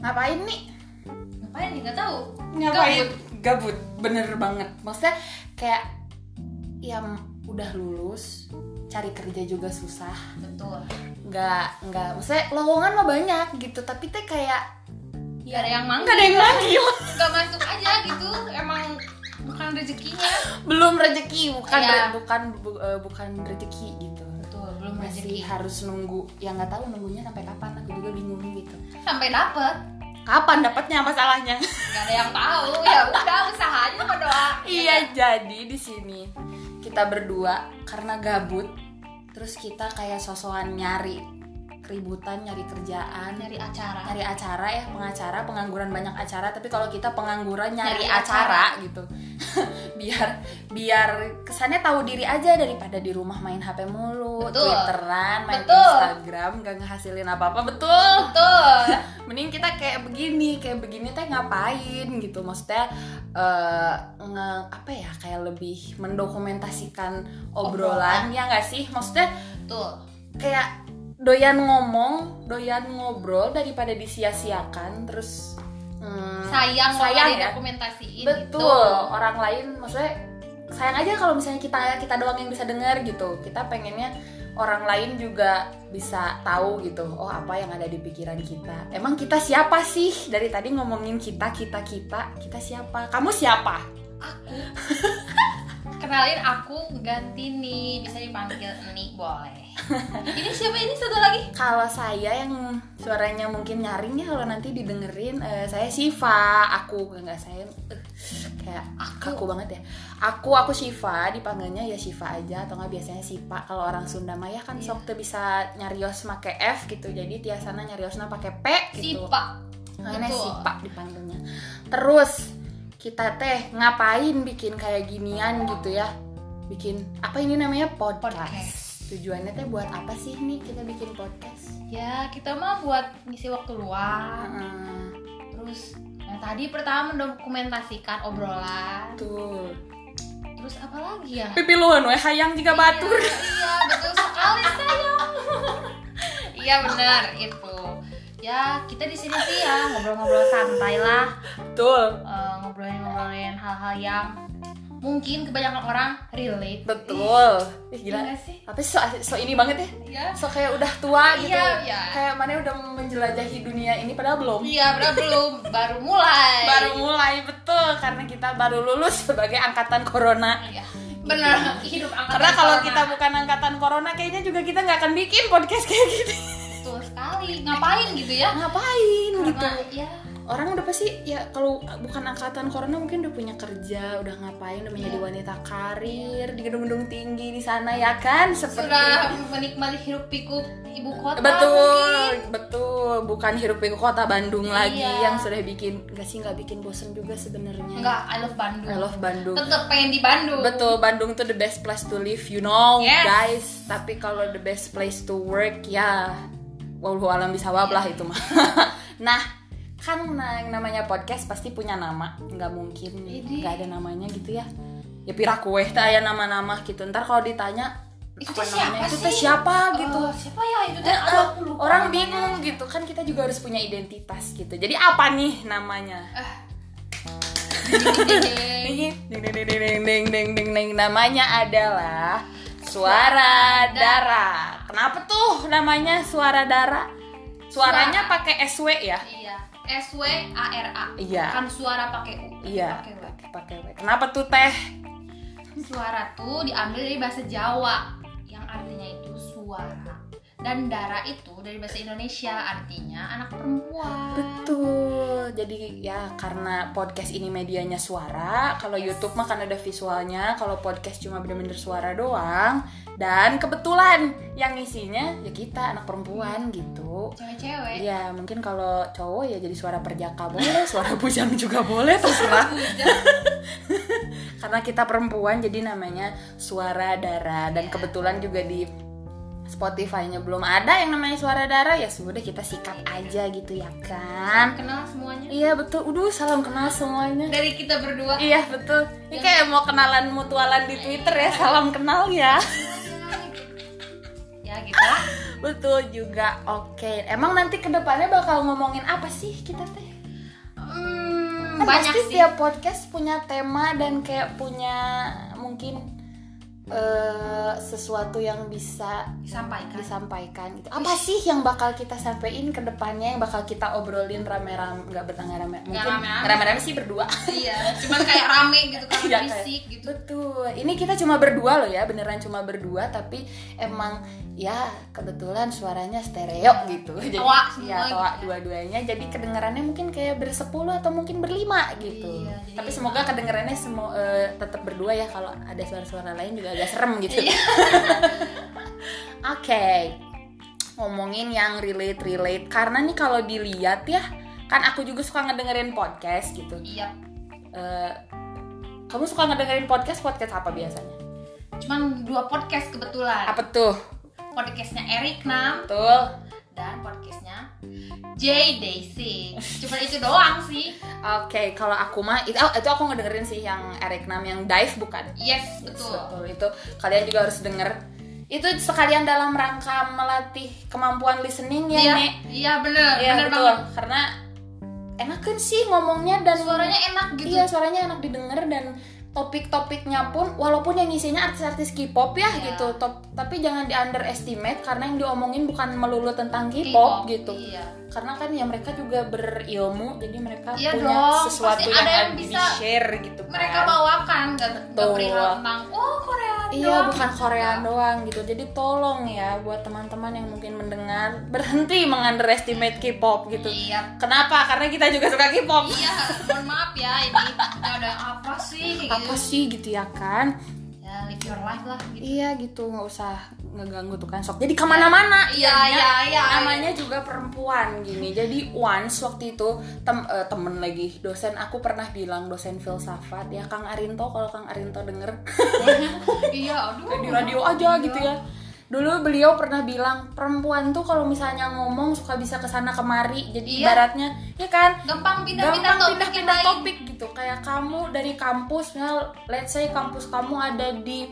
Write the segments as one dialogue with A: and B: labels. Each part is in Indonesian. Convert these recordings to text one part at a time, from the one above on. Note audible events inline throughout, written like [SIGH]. A: ngapain nih
B: Ngapain nih? Gak tahu.
A: ngapain gabut. bener banget maksudnya kayak ya udah lulus cari kerja juga susah
B: Betul.
A: nggak nggak maksudnya lowongan mah banyak gitu tapi teh kayak Iya.
B: Gak ada yang manggil.
A: nggak ada yang manggil
B: Gak masuk aja gitu. Emang bukan rezekinya.
A: [LAUGHS] belum rezeki bukan
B: Iya.
A: bukan bu- eh, bukan rezeki gitu
B: Betul. Belum
A: masih
B: rezeki.
A: harus nunggu ya nggak tahu nunggunya sampai kapan aku juga bingung gitu
B: Sampai dapet.
A: kapan dapatnya masalahnya
B: Gak ada yang tahu. Ya udah usaha aja sama doa.
A: iya jadi di sini kita berdua karena gabut terus kita kayak sosokan nyari keributan nyari kerjaan
B: Nyari acara.
A: nyari acara ya pengacara pengangguran banyak acara tapi kalau kita pengangguran nyari,
B: Nyari
A: acara, gitu [LAUGHS] biar biar kesannya tahu diri aja daripada di rumah main HP mulu
B: Betul.
A: twitteran main
B: Betul.
A: Instagram gak ngehasilin apa apa betul
B: Betul.
A: mending kita kayak begini kayak begini teh ngapain gitu maksudnya eh, nge- apa ya kayak lebih mendokumentasikan obrolan,
B: Obrolan.
A: ya nggak sih maksudnya
B: Betul.
A: kayak doyan ngomong, doyan ngobrol daripada disia-siakan terus hmm,
B: Sayang
A: Sayang
B: sayang
A: ya?
B: dokumentasiin
A: betul
B: gitu.
A: orang lain maksudnya sayang aja kalau misalnya kita kita doang yang bisa dengar gitu. Kita pengennya orang lain juga bisa tahu gitu. Oh, apa yang ada di pikiran kita. Emang kita siapa sih? Dari tadi ngomongin kita, kita, kita, kita siapa? Kamu siapa?
B: Aku. Kenalin aku ganti nih, bisa dipanggil Eni boleh. [LAUGHS] Ini siapa ini satu lagi?
A: Kalau saya yang suaranya mungkin nyaring ya kalau nanti didengerin eh, saya Siva, aku enggak saya eh, kayak kaku banget ya. Aku aku Siva, dipanggilnya ya Siva aja atau enggak biasanya Sipa. Kalau orang Sunda mah ya kan
B: Iya.
A: sok tuh bisa nyarios make F gitu. Jadi tiasana nyariosna pakai P gitu.
B: Sipa.
A: Makanya
B: Betul.
A: Sipa dipanggilnya. Terus kita teh ngapain bikin kayak ginian gitu ya? Bikin apa ini namanya podcast.
B: Podcast.
A: Tujuannya teh buat apa sih nih kita bikin podcast?
B: Ya, kita mah buat ngisi waktu luang.
A: Heeh,
B: Terus yang tadi pertama mendokumentasikan obrolan.
A: Betul.
B: Terus apa lagi ya?
A: Pipiluan we hayang jika batur.
B: Iya, iya, betul sekali sayang. [LAUGHS] iya benar itu. Ya, kita di sini sih ya ngobrol-ngobrol santai lah.
A: Betul.
B: Eh, ngobrolin-ngobrolin hal-hal yang mungkin kebanyakan orang relate.
A: Betul. Ih,
B: Ih,
A: gila.
B: nggak sih?
A: Tapi so, so ini banget ya.
B: Iya.
A: So kayak udah tua gitu.
B: Iya, iya.
A: Kayak mana udah menjelajahi dunia ini padahal belum.
B: Iya, padahal belum baru mulai.
A: Baru mulai betul karena kita baru lulus [LAUGHS] sebagai angkatan corona.
B: Iya. Benar, hidup angkatan
A: Karena kalau
B: corona.
A: kita bukan angkatan corona kayaknya juga kita nggak akan bikin podcast kayak gini.
B: betul sekali, ngapain gitu ya?
A: Ngapain gitu?
B: Karena ya
A: orang udah pasti ya kalau bukan angkatan corona mungkin udah punya kerja udah ngapain udah menjadi
B: Iya.
A: wanita karir di gedung-gedung tinggi di sana ya kan seperti
B: sudah menikmati hirup pikuk ibu kota
A: betul
B: mungkin.
A: betul bukan hirup pikuk kota Bandung
B: Iya.
A: lagi yang sudah bikin nggak sih nggak bikin bosen juga sebenarnya
B: Enggak, I love Bandung.
A: I love Bandung
B: Tetap pengen di Bandung.
A: betul Bandung tuh the best place to live you know
B: Yes.
A: guys tapi kalau the best place to work ya wallahu alam bisawab lah itu mah [LAUGHS] nah kan na- yang namanya podcast pasti punya nama nggak mungkin
B: Ini.
A: nggak ada namanya gitu ya ya pira kue teh aya nama-nama gitu ntar kalau ditanya
B: Itu
A: apa
B: teh
A: namanya,
B: siapa
A: itu
B: sih?
A: teh siapa gitu
B: Eh, siapa ya itu teh? Aduh, aku lupa.
A: orang bingung gitu kan kita juga harus punya identitas gitu jadi apa nih namanya
B: Eh. Ding-ding-ding.
A: Ding ding ding ding ding ding ding ding ding namanya adalah suara darah. Kenapa tuh namanya suara darah? Suaranya pakai SW ya?
B: [LAUGHS] Iya. S W A R A.
A: Iya.
B: Kan suara pakai U.
A: Iya.
B: Pakai W.
A: Pakai W. Kenapa tuh teh?
B: Suara tuh diambil dari bahasa Jawa yang artinya itu suara. Dan dara itu dari bahasa Indonesia artinya anak perempuan.
A: Betul. Jadi ya karena podcast ini medianya suara, kalau
B: Yes.
A: YouTube mah kan ada visualnya, kalau podcast cuma bener-bener suara doang. Dan kebetulan yang isinya ya kita anak perempuan gitu.
B: Cewek-cewek.
A: Iya, mungkin kalau cowok ya jadi suara perjaka boleh, suara bujang juga boleh terserah. Karena kita perempuan jadi namanya suara darah dan kebetulan juga di Spotify-nya belum ada yang namanya suara darah ya sudah kita sikat aja gitu ya kan.
B: [LAUGHS] Kenal semuanya.
A: Iya betul. Udah salam kenal semuanya.
B: Dari kita berdua.
A: Iya betul. Ini kayak mau kenalan mutualan di Twitter ya, salam kenal ya.
B: ya gitu lah
A: betul juga oke emang nanti kedepannya bakal ngomongin apa sih kita teh
B: Hmm,
A: Kan
B: banyak
A: pasti
B: sih.
A: tiap podcast punya tema dan kayak punya mungkin eh, sesuatu yang bisa
B: disampaikan.
A: disampaikan gitu. Apa sih yang bakal kita sampaikan ke depannya yang bakal kita obrolin rame-rame nggak bertangga rame mungkin
B: rame-rame.
A: rame-rame sih berdua. [LAUGHS]
B: iya, cuman kayak rame gitu kan
A: Iya,
B: berisik gitu.
A: Betul. Ini kita cuma berdua loh ya, beneran cuma berdua tapi emang ya kebetulan suaranya stereo gitu.
B: Tawa Iya, semua
A: ya
B: gitu
A: tawa
B: ya.
A: dua-duanya jadi kedengarannya mungkin kayak bersepuluh atau mungkin berlima gitu.
B: Iya, jadi-
A: tapi semoga kedengarannya semua tetap berdua ya kalau ada suara-suara lain juga agak serem gitu.
B: Iya.
A: [LAUGHS] Oke. Ngomongin yang relate-relate karena nih kalau dilihat ya kan aku juga suka ngedengerin podcast gitu.
B: Iya.
A: Eh, kamu suka ngedengerin podcast podcast apa biasanya?
B: Cuman dua podcast kebetulan.
A: Apa tuh?
B: Podcastnya Erik Nam
A: Betul.
B: dan podcastnya J Daisy. Cuman itu doang sih.
A: Oke, kalau aku mah itu, itu aku ngedengerin sih yang Eric Nam yang dive bukan?
B: Yes,
A: Yes,
B: betul.
A: Itu kalian juga harus denger. Itu sekalian dalam rangka melatih kemampuan listening ya,
B: Iya,
A: Nek.
B: iya bener,
A: Iya,
B: bener
A: betul.
B: banget.
A: Karena enakan sih ngomongnya dan
B: Suaranya enak gitu.
A: Iya, suaranya enak didengar dan topik-topiknya pun walaupun yang isinya artis-artis K-pop ya
B: Iya.
A: gitu, top- tapi jangan di underestimate karena yang diomongin bukan melulu tentang K-pop, gitu.
B: Iya.
A: Karena kan ya mereka juga berilmu, jadi mereka
B: Iya
A: punya
B: dong,
A: sesuatu
B: pasti
A: yang,
B: ada yang
A: bisa
B: bisa
A: di-share gitu kan.
B: Mereka bawakan gak, gak
A: Betul.
B: perihal tentang oh Korea
A: Iya, bukan Korea doang gitu. Jadi tolong ya buat teman-teman yang mungkin mendengar berhenti mengunderestimate K-pop gitu.
B: Iya.
A: Kenapa? Karena kita juga suka K-pop.
B: Iya, mohon maaf ya ini kita udah apa sih kayak
A: Apa
B: gitu.
A: sih gitu ya kan?
B: Ya live your life lah gitu.
A: Iya gitu, nggak usah ngeganggu tuh kan sok. Jadi kemana-mana.
B: Iya,
A: jadinya.
B: iya, iya.
A: Namanya juga perempuan gini. Jadi once waktu itu tem- eh, temen lagi dosen aku pernah bilang dosen filsafat ya Kang Arinto kalau Kang Arinto denger
B: [LAUGHS]
A: [LAUGHS]
B: Iya, aduh.
A: di radio aja gitu ya. Dulu beliau pernah bilang perempuan tuh kalau misalnya ngomong suka bisa kesana kemari. Jadi
B: Iya.
A: ibaratnya ya kan
B: Gampang pindah-pindah
A: gampang
B: topik
A: pindah-pindah
B: yang lain.
A: topik gitu kayak kamu dari kampus misal let's say kampus kamu ada di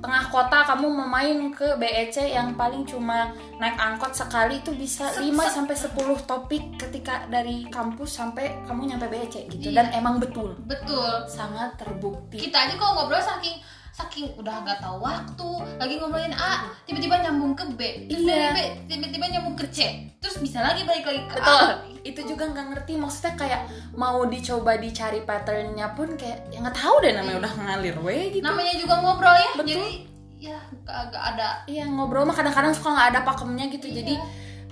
A: tengah kota kamu mau main ke BEC yang paling cuma naik angkot sekali itu bisa 5 sampai 10 topik ketika dari kampus sampai kamu nyampe BEC gitu dan
B: Iya.
A: emang betul
B: Betul.
A: sangat terbukti
B: Kita aja kalau ngobrol saking saking udah gak tahu waktu lagi ngobrolin A tiba-tiba nyambung ke B terus
A: Iya.
B: dari B tiba-tiba nyambung ke C terus bisa lagi balik lagi ke
A: betul
B: A
A: [COUGHS] itu juga nggak ngerti maksudnya kayak mau dicoba dicari patternnya pun kayak ya nggak tahu deh
B: Iya.
A: namanya udah ngalir weh gitu
B: namanya juga ngobrol ya
A: Betul.
B: jadi ya gak, gak ada
A: Iya ngobrol mah kadang-kadang suka nggak ada pakemnya gitu
B: Iya.
A: jadi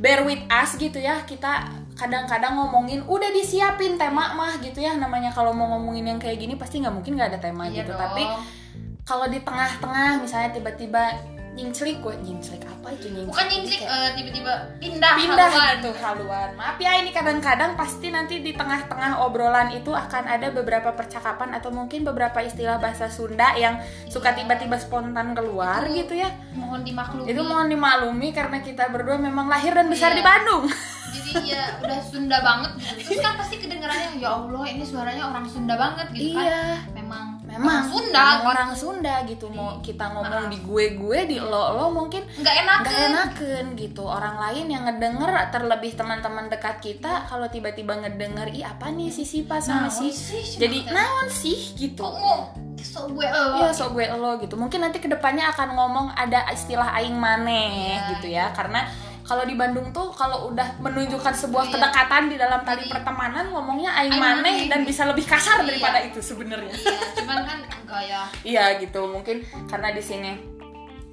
A: bear with us gitu ya kita kadang-kadang ngomongin udah disiapin tema mah gitu ya namanya kalau mau ngomongin yang kayak gini pasti nggak mungkin nggak ada tema
B: Iya
A: gitu
B: dong.
A: tapi kalau di tengah-tengah misalnya tiba-tiba nyingclik gue nyingclik apa itu nyingclik
B: bukan
A: Jadi
B: nyinjek
A: kayak
B: eh, tiba-tiba pindah,
A: Iya. pindah
B: haluan.
A: gitu haluan maaf ya ini kadang-kadang pasti nanti di tengah-tengah obrolan itu akan ada beberapa percakapan atau mungkin beberapa istilah bahasa Sunda yang suka
B: Iya.
A: tiba-tiba spontan keluar
B: Itu-
A: gitu ya
B: mohon dimaklumi
A: itu mohon dimaklumi karena kita berdua memang lahir dan besar
B: Iya.
A: di Bandung.
B: jadi ya udah Sunda banget gitu terus kan pasti kedengarannya ya Allah ini suaranya orang Sunda banget gitu kan
A: Iya.
B: memang
A: Memang
B: orang Sunda Iya.
A: memang orang Sunda gitu mau kita ngomong di gue-gue di lo-lo mungkin
B: nggak enak
A: nggak enakan gitu. Orang lain yang ngedenger terlebih teman-teman dekat kita kalau tiba-tiba ngedenger ih apa nih si Sipa sama si jadi naon sih gitu.
B: kok mau so gue eh,
A: Iya, sok gue lo gitu. Mungkin nanti kedepannya akan ngomong ada istilah aing maneh
B: Iya.
A: gitu ya, karena kalau di Bandung tuh kalau udah menunjukkan sebuah
B: Iya.
A: kedekatan di dalam tali
B: Jadi-
A: pertemanan ngomongnya aing
B: Aing
A: maneh
B: maneh.
A: dan bisa lebih kasar
B: Iya.
A: daripada itu sebenarnya.
B: iya cuman kan enggak ya
A: Iya gitu, mungkin karena di sini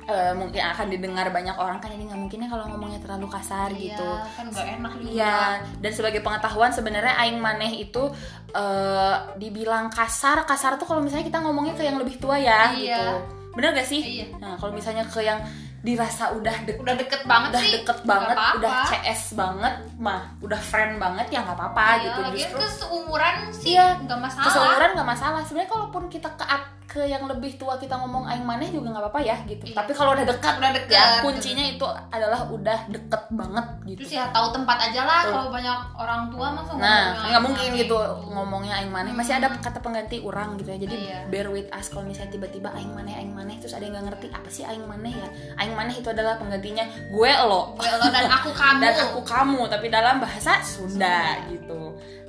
A: eh, mungkin akan didengar banyak orang kan ini nggak mungkinnya kalau ngomongnya terlalu kasar gitu.
B: Iya, kan nggak enak juga
A: Iya, dan sebagai pengetahuan sebenarnya aing maneh itu eh, dibilang kasar. Kasar tuh kalau misalnya kita ngomongnya ke yang lebih tua ya
B: Iya.
A: gitu. Bener gak sih?
B: Iya.
A: Nah, kalau misalnya ke yang dirasa udah deket
B: udah deket banget
A: udah
B: sih
A: deket
B: nggak
A: banget,
B: apa-apa.
A: udah CS banget, mah udah friend banget ya nggak apa-apa
B: Iya,
A: gitu
B: lagian
A: justru.
B: ke seumuran sih
A: Iya.
B: nggak masalah
A: Keseluruhan nggak masalah. Sebenarnya kalaupun kita ke at- ke ke yang lebih tua kita ngomong aing maneh juga nggak apa-apa ya gitu.
B: Iya.
A: Tapi kalau udah dekat
B: udah dekat
A: ya kuncinya itu adalah udah deket banget gitu.
B: terus ya tahu tempat aja lah
A: Tuh.
B: kalau banyak orang tua
A: Nah,
B: masa ngomongnya
A: kan nggak mungkin
B: gimana
A: gitu ngomongnya aing maneh. Masih ada kata pengganti orang gitu ya. Jadi
B: Iya.
A: bear with us kalau misalnya tiba-tiba aing maneh aing maneh terus ada yang nggak ngerti apa sih aing maneh ya. Aing maneh itu adalah penggantinya gue lo
B: Gue, lo
A: [LAUGHS]
B: dan aku kamu
A: dan aku kamu tapi dalam bahasa Sunda
B: Sunda.
A: gitu.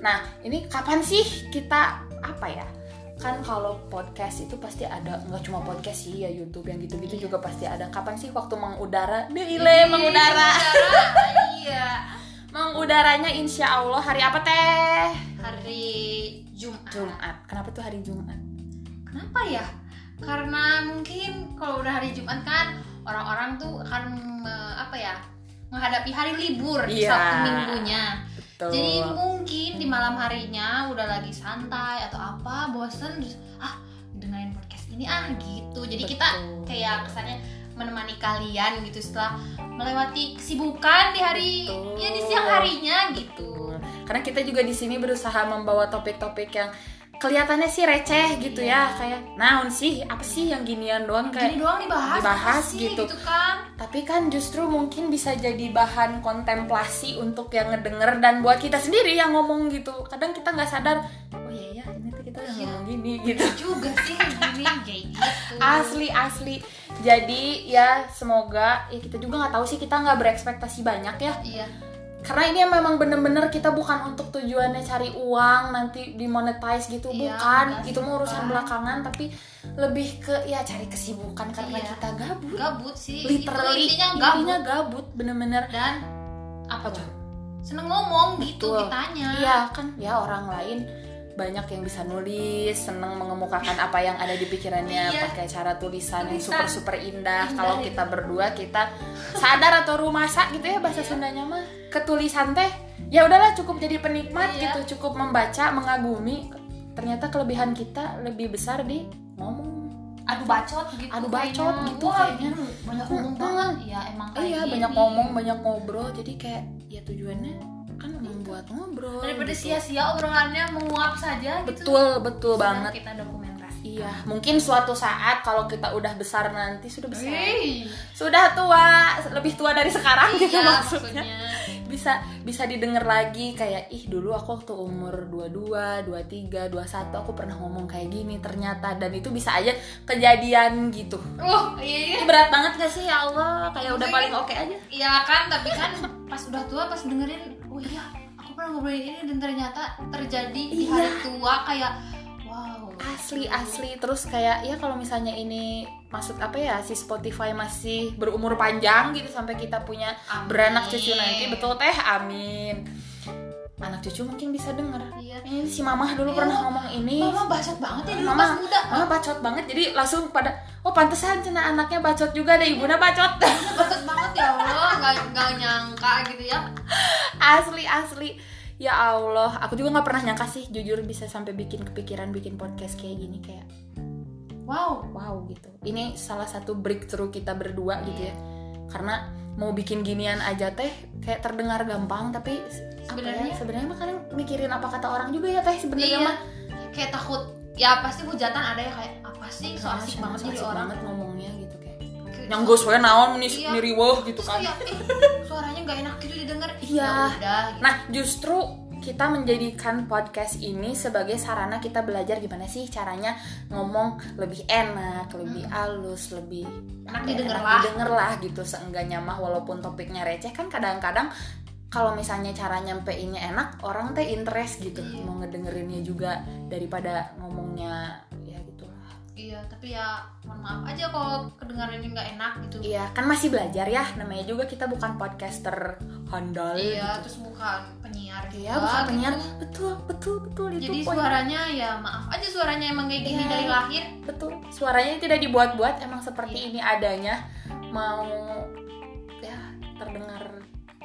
A: Nah, ini kapan sih kita apa ya? Kan kalau podcast itu pasti ada nggak cuma podcast sih ya YouTube yang
B: Iya.
A: gitu-gitu juga pasti ada. Kapan sih waktu mengudara? Deile
B: Ih,
A: mengudara.
B: mengudara, iya
A: Mengudaranya insya Allah hari apa teh?
B: hari Jumat.
A: Jumat. Kenapa tuh hari Jumat?
B: kenapa ya karena mungkin kalau udah hari Jumat kan orang-orang tuh akan me- apa ya menghadapi hari libur
A: Iya.
B: Sabtu minggunya
A: Betul.
B: jadi mungkin di malam harinya udah lagi santai atau apa bosen terus ah dengerin podcast ini ah gitu jadi kita
A: Betul.
B: kayak kesannya menemani kalian gitu setelah melewati kesibukan di hari
A: Betul.
B: ya di siang harinya gitu
A: Betul. Karena kita juga di sini berusaha membawa topik-topik yang kelihatannya sih receh gitu
B: Iya.
A: ya kayak naon sih apa sih yang ginian doang kayak
B: Gini doang dibahas,
A: dibahas
B: apa sih,
A: gitu.
B: gitu kan
A: Tapi kan justru mungkin bisa jadi bahan kontemplasi untuk yang ngedenger dan buat kita sendiri yang ngomong gitu. Kadang kita nggak sadar, oh iya ya ini tuh kita udah
B: Iya.
A: ngomong gini gitu.
B: juga sih gini kayak gitu
A: Asli asli. Jadi ya semoga ya kita juga nggak tahu sih kita nggak berekspektasi banyak ya.
B: iya
A: Karena ini memang bener-bener kita bukan untuk tujuannya cari uang nanti dimonetize gitu
B: Iya,
A: bukan.
B: enggak sih,
A: Itu mau urusan
B: bukan.
A: belakangan tapi lebih ke ya cari kesibukan karena
B: Iya.
A: kita gabut.
B: gabut sih
A: Literally
B: Itu intinya
A: intinya
B: gabut
A: gabut bener-bener
B: dan apa
A: Apa?
B: tuh seneng ngomong gitu
A: Betul.
B: kitanya
A: Iya kan ya orang lain banyak yang bisa nulis, seneng mengemukakan apa yang ada di pikirannya
B: Iya.
A: pakai cara tulisan yang
B: Tulisan.
A: super super indah.
B: Indah iya.
A: Kalau
B: itu.
A: kita berdua kita sadar atau rumasa gitu ya bahasa
B: Iya.
A: Sundanya mah. Ketulisan teh ya udahlah cukup jadi penikmat
B: Iya.
A: gitu, cukup membaca, mengagumi. Ternyata kelebihan kita lebih besar di ngomong.
B: adu bacot gitu
A: Adu bacot
B: kayaknya.
A: gitu
B: Wah,
A: kayaknya.
B: bener, banyak ngomong
A: Mm-mm.
B: banget iya emang kayak
A: iya,
B: gini.
A: banyak ngomong, banyak ngobrol. Jadi kayak ya tujuannya kan membuat ngobrol.
B: daripada
A: gitu.
B: sia-sia obrolannya menguap saja gitu
A: Betul, betul
B: Sedang
A: banget.
B: kita dokumentasi
A: Iya, mungkin suatu saat kalau kita udah besar nanti sudah besar.
B: Hei,
A: Sudah tua, lebih tua dari sekarang gitu
B: iya,
A: maksudnya.
B: maksudnya.
A: Bisa bisa didengar lagi kayak ih dulu aku waktu umur 22, 23, 21 aku pernah ngomong kayak gini ternyata dan itu bisa aja kejadian gitu.
B: Uh, iya,
A: Ini berat banget gak sih ya Allah? Kayak udah
B: Mungkin-
A: paling oke aja.
B: Iya kan, tapi kan pas udah tua pas dengerin, oh iya, aku pernah ngobrolin ini dan ternyata terjadi
A: Iya.
B: di hari tua kayak wow.
A: Asli asli terus kayak ya kalau misalnya ini maksud apa ya si Spotify masih berumur panjang gitu sampai kita punya
B: Amin.
A: beranak cucu nanti betul teh amin anak cucu mungkin bisa denger
B: Iya.
A: ini si mamah dulu
B: Iya.
A: pernah ngomong ini
B: Mama bacot banget ya dulu
A: Mama.
B: pas muda.
A: mama bacot banget jadi langsung pada oh pantesan cina anaknya bacot juga ada ibunya bacot [LAUGHS]
B: Bacot banget ya Allah, nggak nggak nyangka gitu ya.
A: asli asli ya Allah aku juga nggak pernah nyangka sih jujur bisa sampai bikin kepikiran bikin podcast kayak gini kayak
B: Wow.
A: wow gitu ini salah satu breakthrough kita berdua gitu ya
B: Iya.
A: karena mau bikin ginian aja teh kayak terdengar gampang tapi apa ya,
B: Sebenarnya-
A: sebenarnya mah kadang mikirin apa kata orang juga ya teh sebenarnya
B: Iya.
A: mah
B: Kayak takut ya pasti hujatan ada ya kayak apa sih so
A: Soalnya
B: asik banget jadi
A: Iya, asik
B: orang.
A: banget gitu ngomongnya gitu kayak
B: Kayak-
A: nyanggus we naon nih
B: Iya.
A: niriweuh gitu
B: Terus
A: kan
B: kayak eh, suaranya nggak enak gitu didengar.
A: Iya.
B: Ya udah. Gitu.
A: nah justru kita menjadikan podcast ini sebagai sarana kita belajar gimana sih caranya ngomong lebih enak, lebih halus, lebih
B: Hmm. Enak
A: apa ya,
B: didengar
A: enak
B: lah.
A: didengar lah gitu seenggaknya mah walaupun topiknya receh kan kadang-kadang kalau misalnya cara nyampeinnya enak orang teh interest gitu
B: Iya.
A: mau ngedengerinnya juga daripada ngomongnya ya gitu lah.
B: Iya, tapi ya mohon maaf aja kalau kedengaran ini nggak enak gitu.
A: Iya, kan masih belajar ya namanya juga kita bukan podcaster handal
B: Iya,
A: gitu.
B: terus bukan penyiar
A: Iya,
B: juga
A: bukan penyiar.
B: gitu.
A: Betul, betul, betul itu
B: Jadi
A: poin.
B: suaranya ya maaf aja suaranya emang kayak gini
A: Iya.
B: dari lahir.
A: Betul. Suaranya tidak dibuat-buat, emang seperti
B: Iya.
A: ini adanya. Mau ya terdengar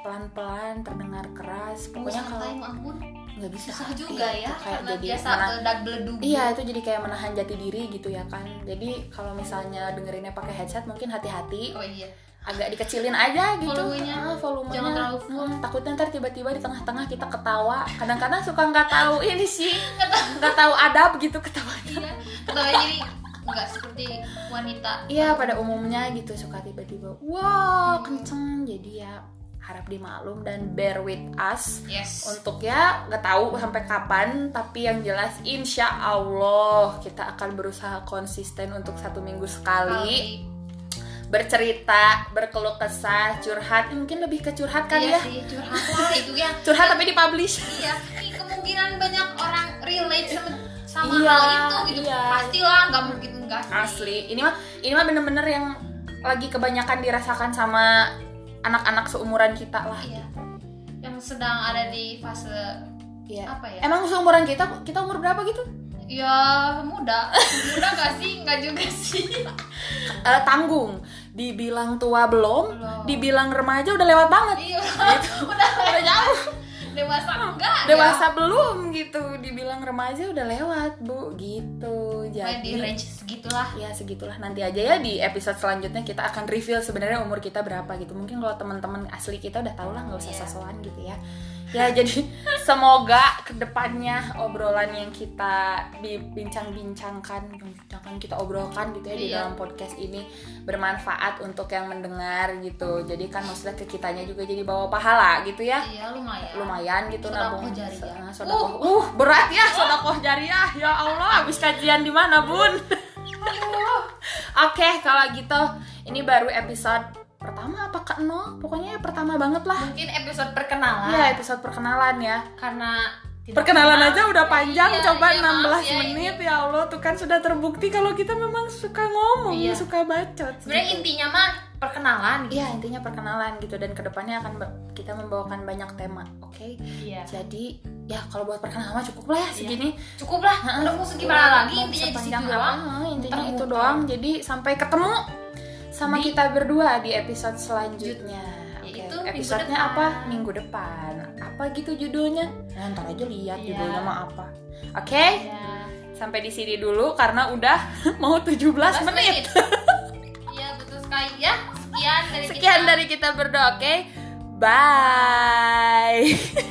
A: pelan-pelan, terdengar keras. Pokoknya
B: Pokoknya
A: kalau
B: Oh, santai, ampun.
A: nggak bisa
B: Susah
A: Iya,
B: juga ya
A: itu kayak
B: karena
A: jadi
B: biasa
A: mana-
B: meledak beledug.
A: Iya, itu jadi kayak menahan jati diri gitu ya kan. Jadi kalau misalnya dengerinnya pakai headset mungkin hati-hati,
B: Oh iya.
A: agak dikecilin aja gitu.
B: Volumenya.
A: Ah, volumenya.
B: Jangan terlalu full.
A: Hmm, takutnya ntar tiba-tiba di tengah-tengah kita ketawa.
B: [LAUGHS]
A: Kadang-kadang suka nggak tahu ini sih, nggak tahu adab gitu ketawa.
B: Iya. Kalau jadi nggak seperti wanita
A: Iya pada umumnya gitu suka tiba-tiba wah kenceng jadi ya harap dimaklum dan bear with us
B: yes
A: untuk ya nggak tahu sampai kapan tapi yang jelas insya Allah kita akan berusaha konsisten untuk satu minggu sekali bercerita berkeluh kesah curhat mungkin lebih ke curhat kan
B: iya
A: ya
B: sih curhat lah itu ya
A: curhat tapi dipublish
B: iya ini kemungkinan banyak orang relate sama sama
A: Iya,
B: hal itu gitu
A: iya.
B: pastilah nggak mungkin nggak sih.
A: asli ini mah ini mah bener-bener yang lagi kebanyakan dirasakan sama anak-anak seumuran kita lah
B: iya yang sedang ada di fase
A: Iya.
B: apa ya
A: Emang seumuran kita, kita umur berapa gitu?
B: ya muda muda nggak sih nggak juga sih
A: Eh, tanggung, dibilang tua belum,
B: Belum.
A: dibilang remaja udah lewat banget,
B: iya udah udah jauh dewasa enggak
A: dewasa belum gitu, dibilang remaja udah lewat bu, gitu.
B: ya. Pokoknya di
A: Jadi
B: range segitulah
A: ya segitulah nanti aja ya di episode selanjutnya kita akan reveal sebenarnya umur kita berapa gitu. Mungkin kalau teman-teman asli kita udah tau lah nggak usah
B: Iya.
A: sosokan gitu ya. Ya [LAUGHS] jadi semoga kedepannya obrolan yang kita bi- bincang-bincangkan, bincangkan kita obrolkan gitu ya di
B: Iya.
A: dalam podcast ini bermanfaat untuk yang mendengar gitu. Jadi kan maksudnya ke kitanya juga jadi bawa pahala gitu ya.
B: iya lumayan
A: Lumayan gitu
B: Sodakoh ya?
A: nabung.
B: jariah.
A: Nah, sodakoh. Uh. berat ya sodakoh jariah. Ya Allah, habis kajian di mana, Bun? Oke, kalau gitu ini baru episode pertama apa ke nol? Pokoknya pertama banget lah.
B: mungkin episode perkenalan
A: Ya, episode perkenalan ya.
B: karena tidak
A: Perkenalan
B: kenal.
A: aja udah panjang,
B: Iya,
A: coba
B: iya,
A: 16
B: maaf ya,
A: menit ya Allah, tuh kan sudah terbukti kalau kita memang suka ngomong,
B: Iya.
A: suka bacot.
B: sebenarnya
A: gitu.
B: intinya mah perkenalan gitu
A: Iya, intinya perkenalan gitu dan kedepannya akan be- kita membawakan banyak tema, oke?
B: iya
A: Jadi ya kalau buat perkenalan mah cukup lah ya segini.
B: cukup lah
A: Heeh.
B: udah mau segimana Iya. lagi
A: Mau
B: intinya di
A: sepanjang
B: situ doang
A: apa, heeh, Intinya
B: Muter-muter.
A: itu doang. Jadi sampai ketemu sama kita berdua di episode selanjutnya. Oke,
B: Yaitu Ya, minggu
A: episodenya
B: depan.
A: apa? Minggu depan. Apa gitu judulnya? Nah, ntar aja lihat
B: Iya.
A: judulnya mah apa. Oke,
B: Iya.
A: sampai di sini dulu karena udah [LAUGHS] mau 17
B: Last
A: menit.
B: minute. Iya betul sekali ya. Sekian dari kita.
A: Sekian dari kita berdua, oke? Bye.